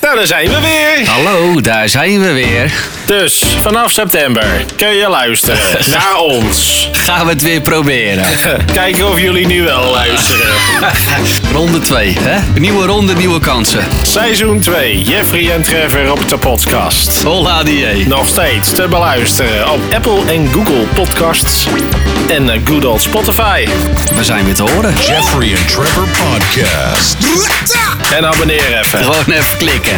Nou, daar zijn we weer. Hallo, daar zijn we weer. Dus vanaf september kun je luisteren naar ons. Gaan we het weer proberen. Kijken of jullie nu wel luisteren. Ronde 2, hè? Nieuwe ronde, nieuwe kansen. Seizoen 2, Jeffrey en Trevor op de podcast. Holla die. Nog steeds te beluisteren op Apple en Google Podcasts. En eh, good old Spotify. We zijn weer te horen. Jeffrey and Trevor Podcast. En abonneer even. Gewoon even klikken.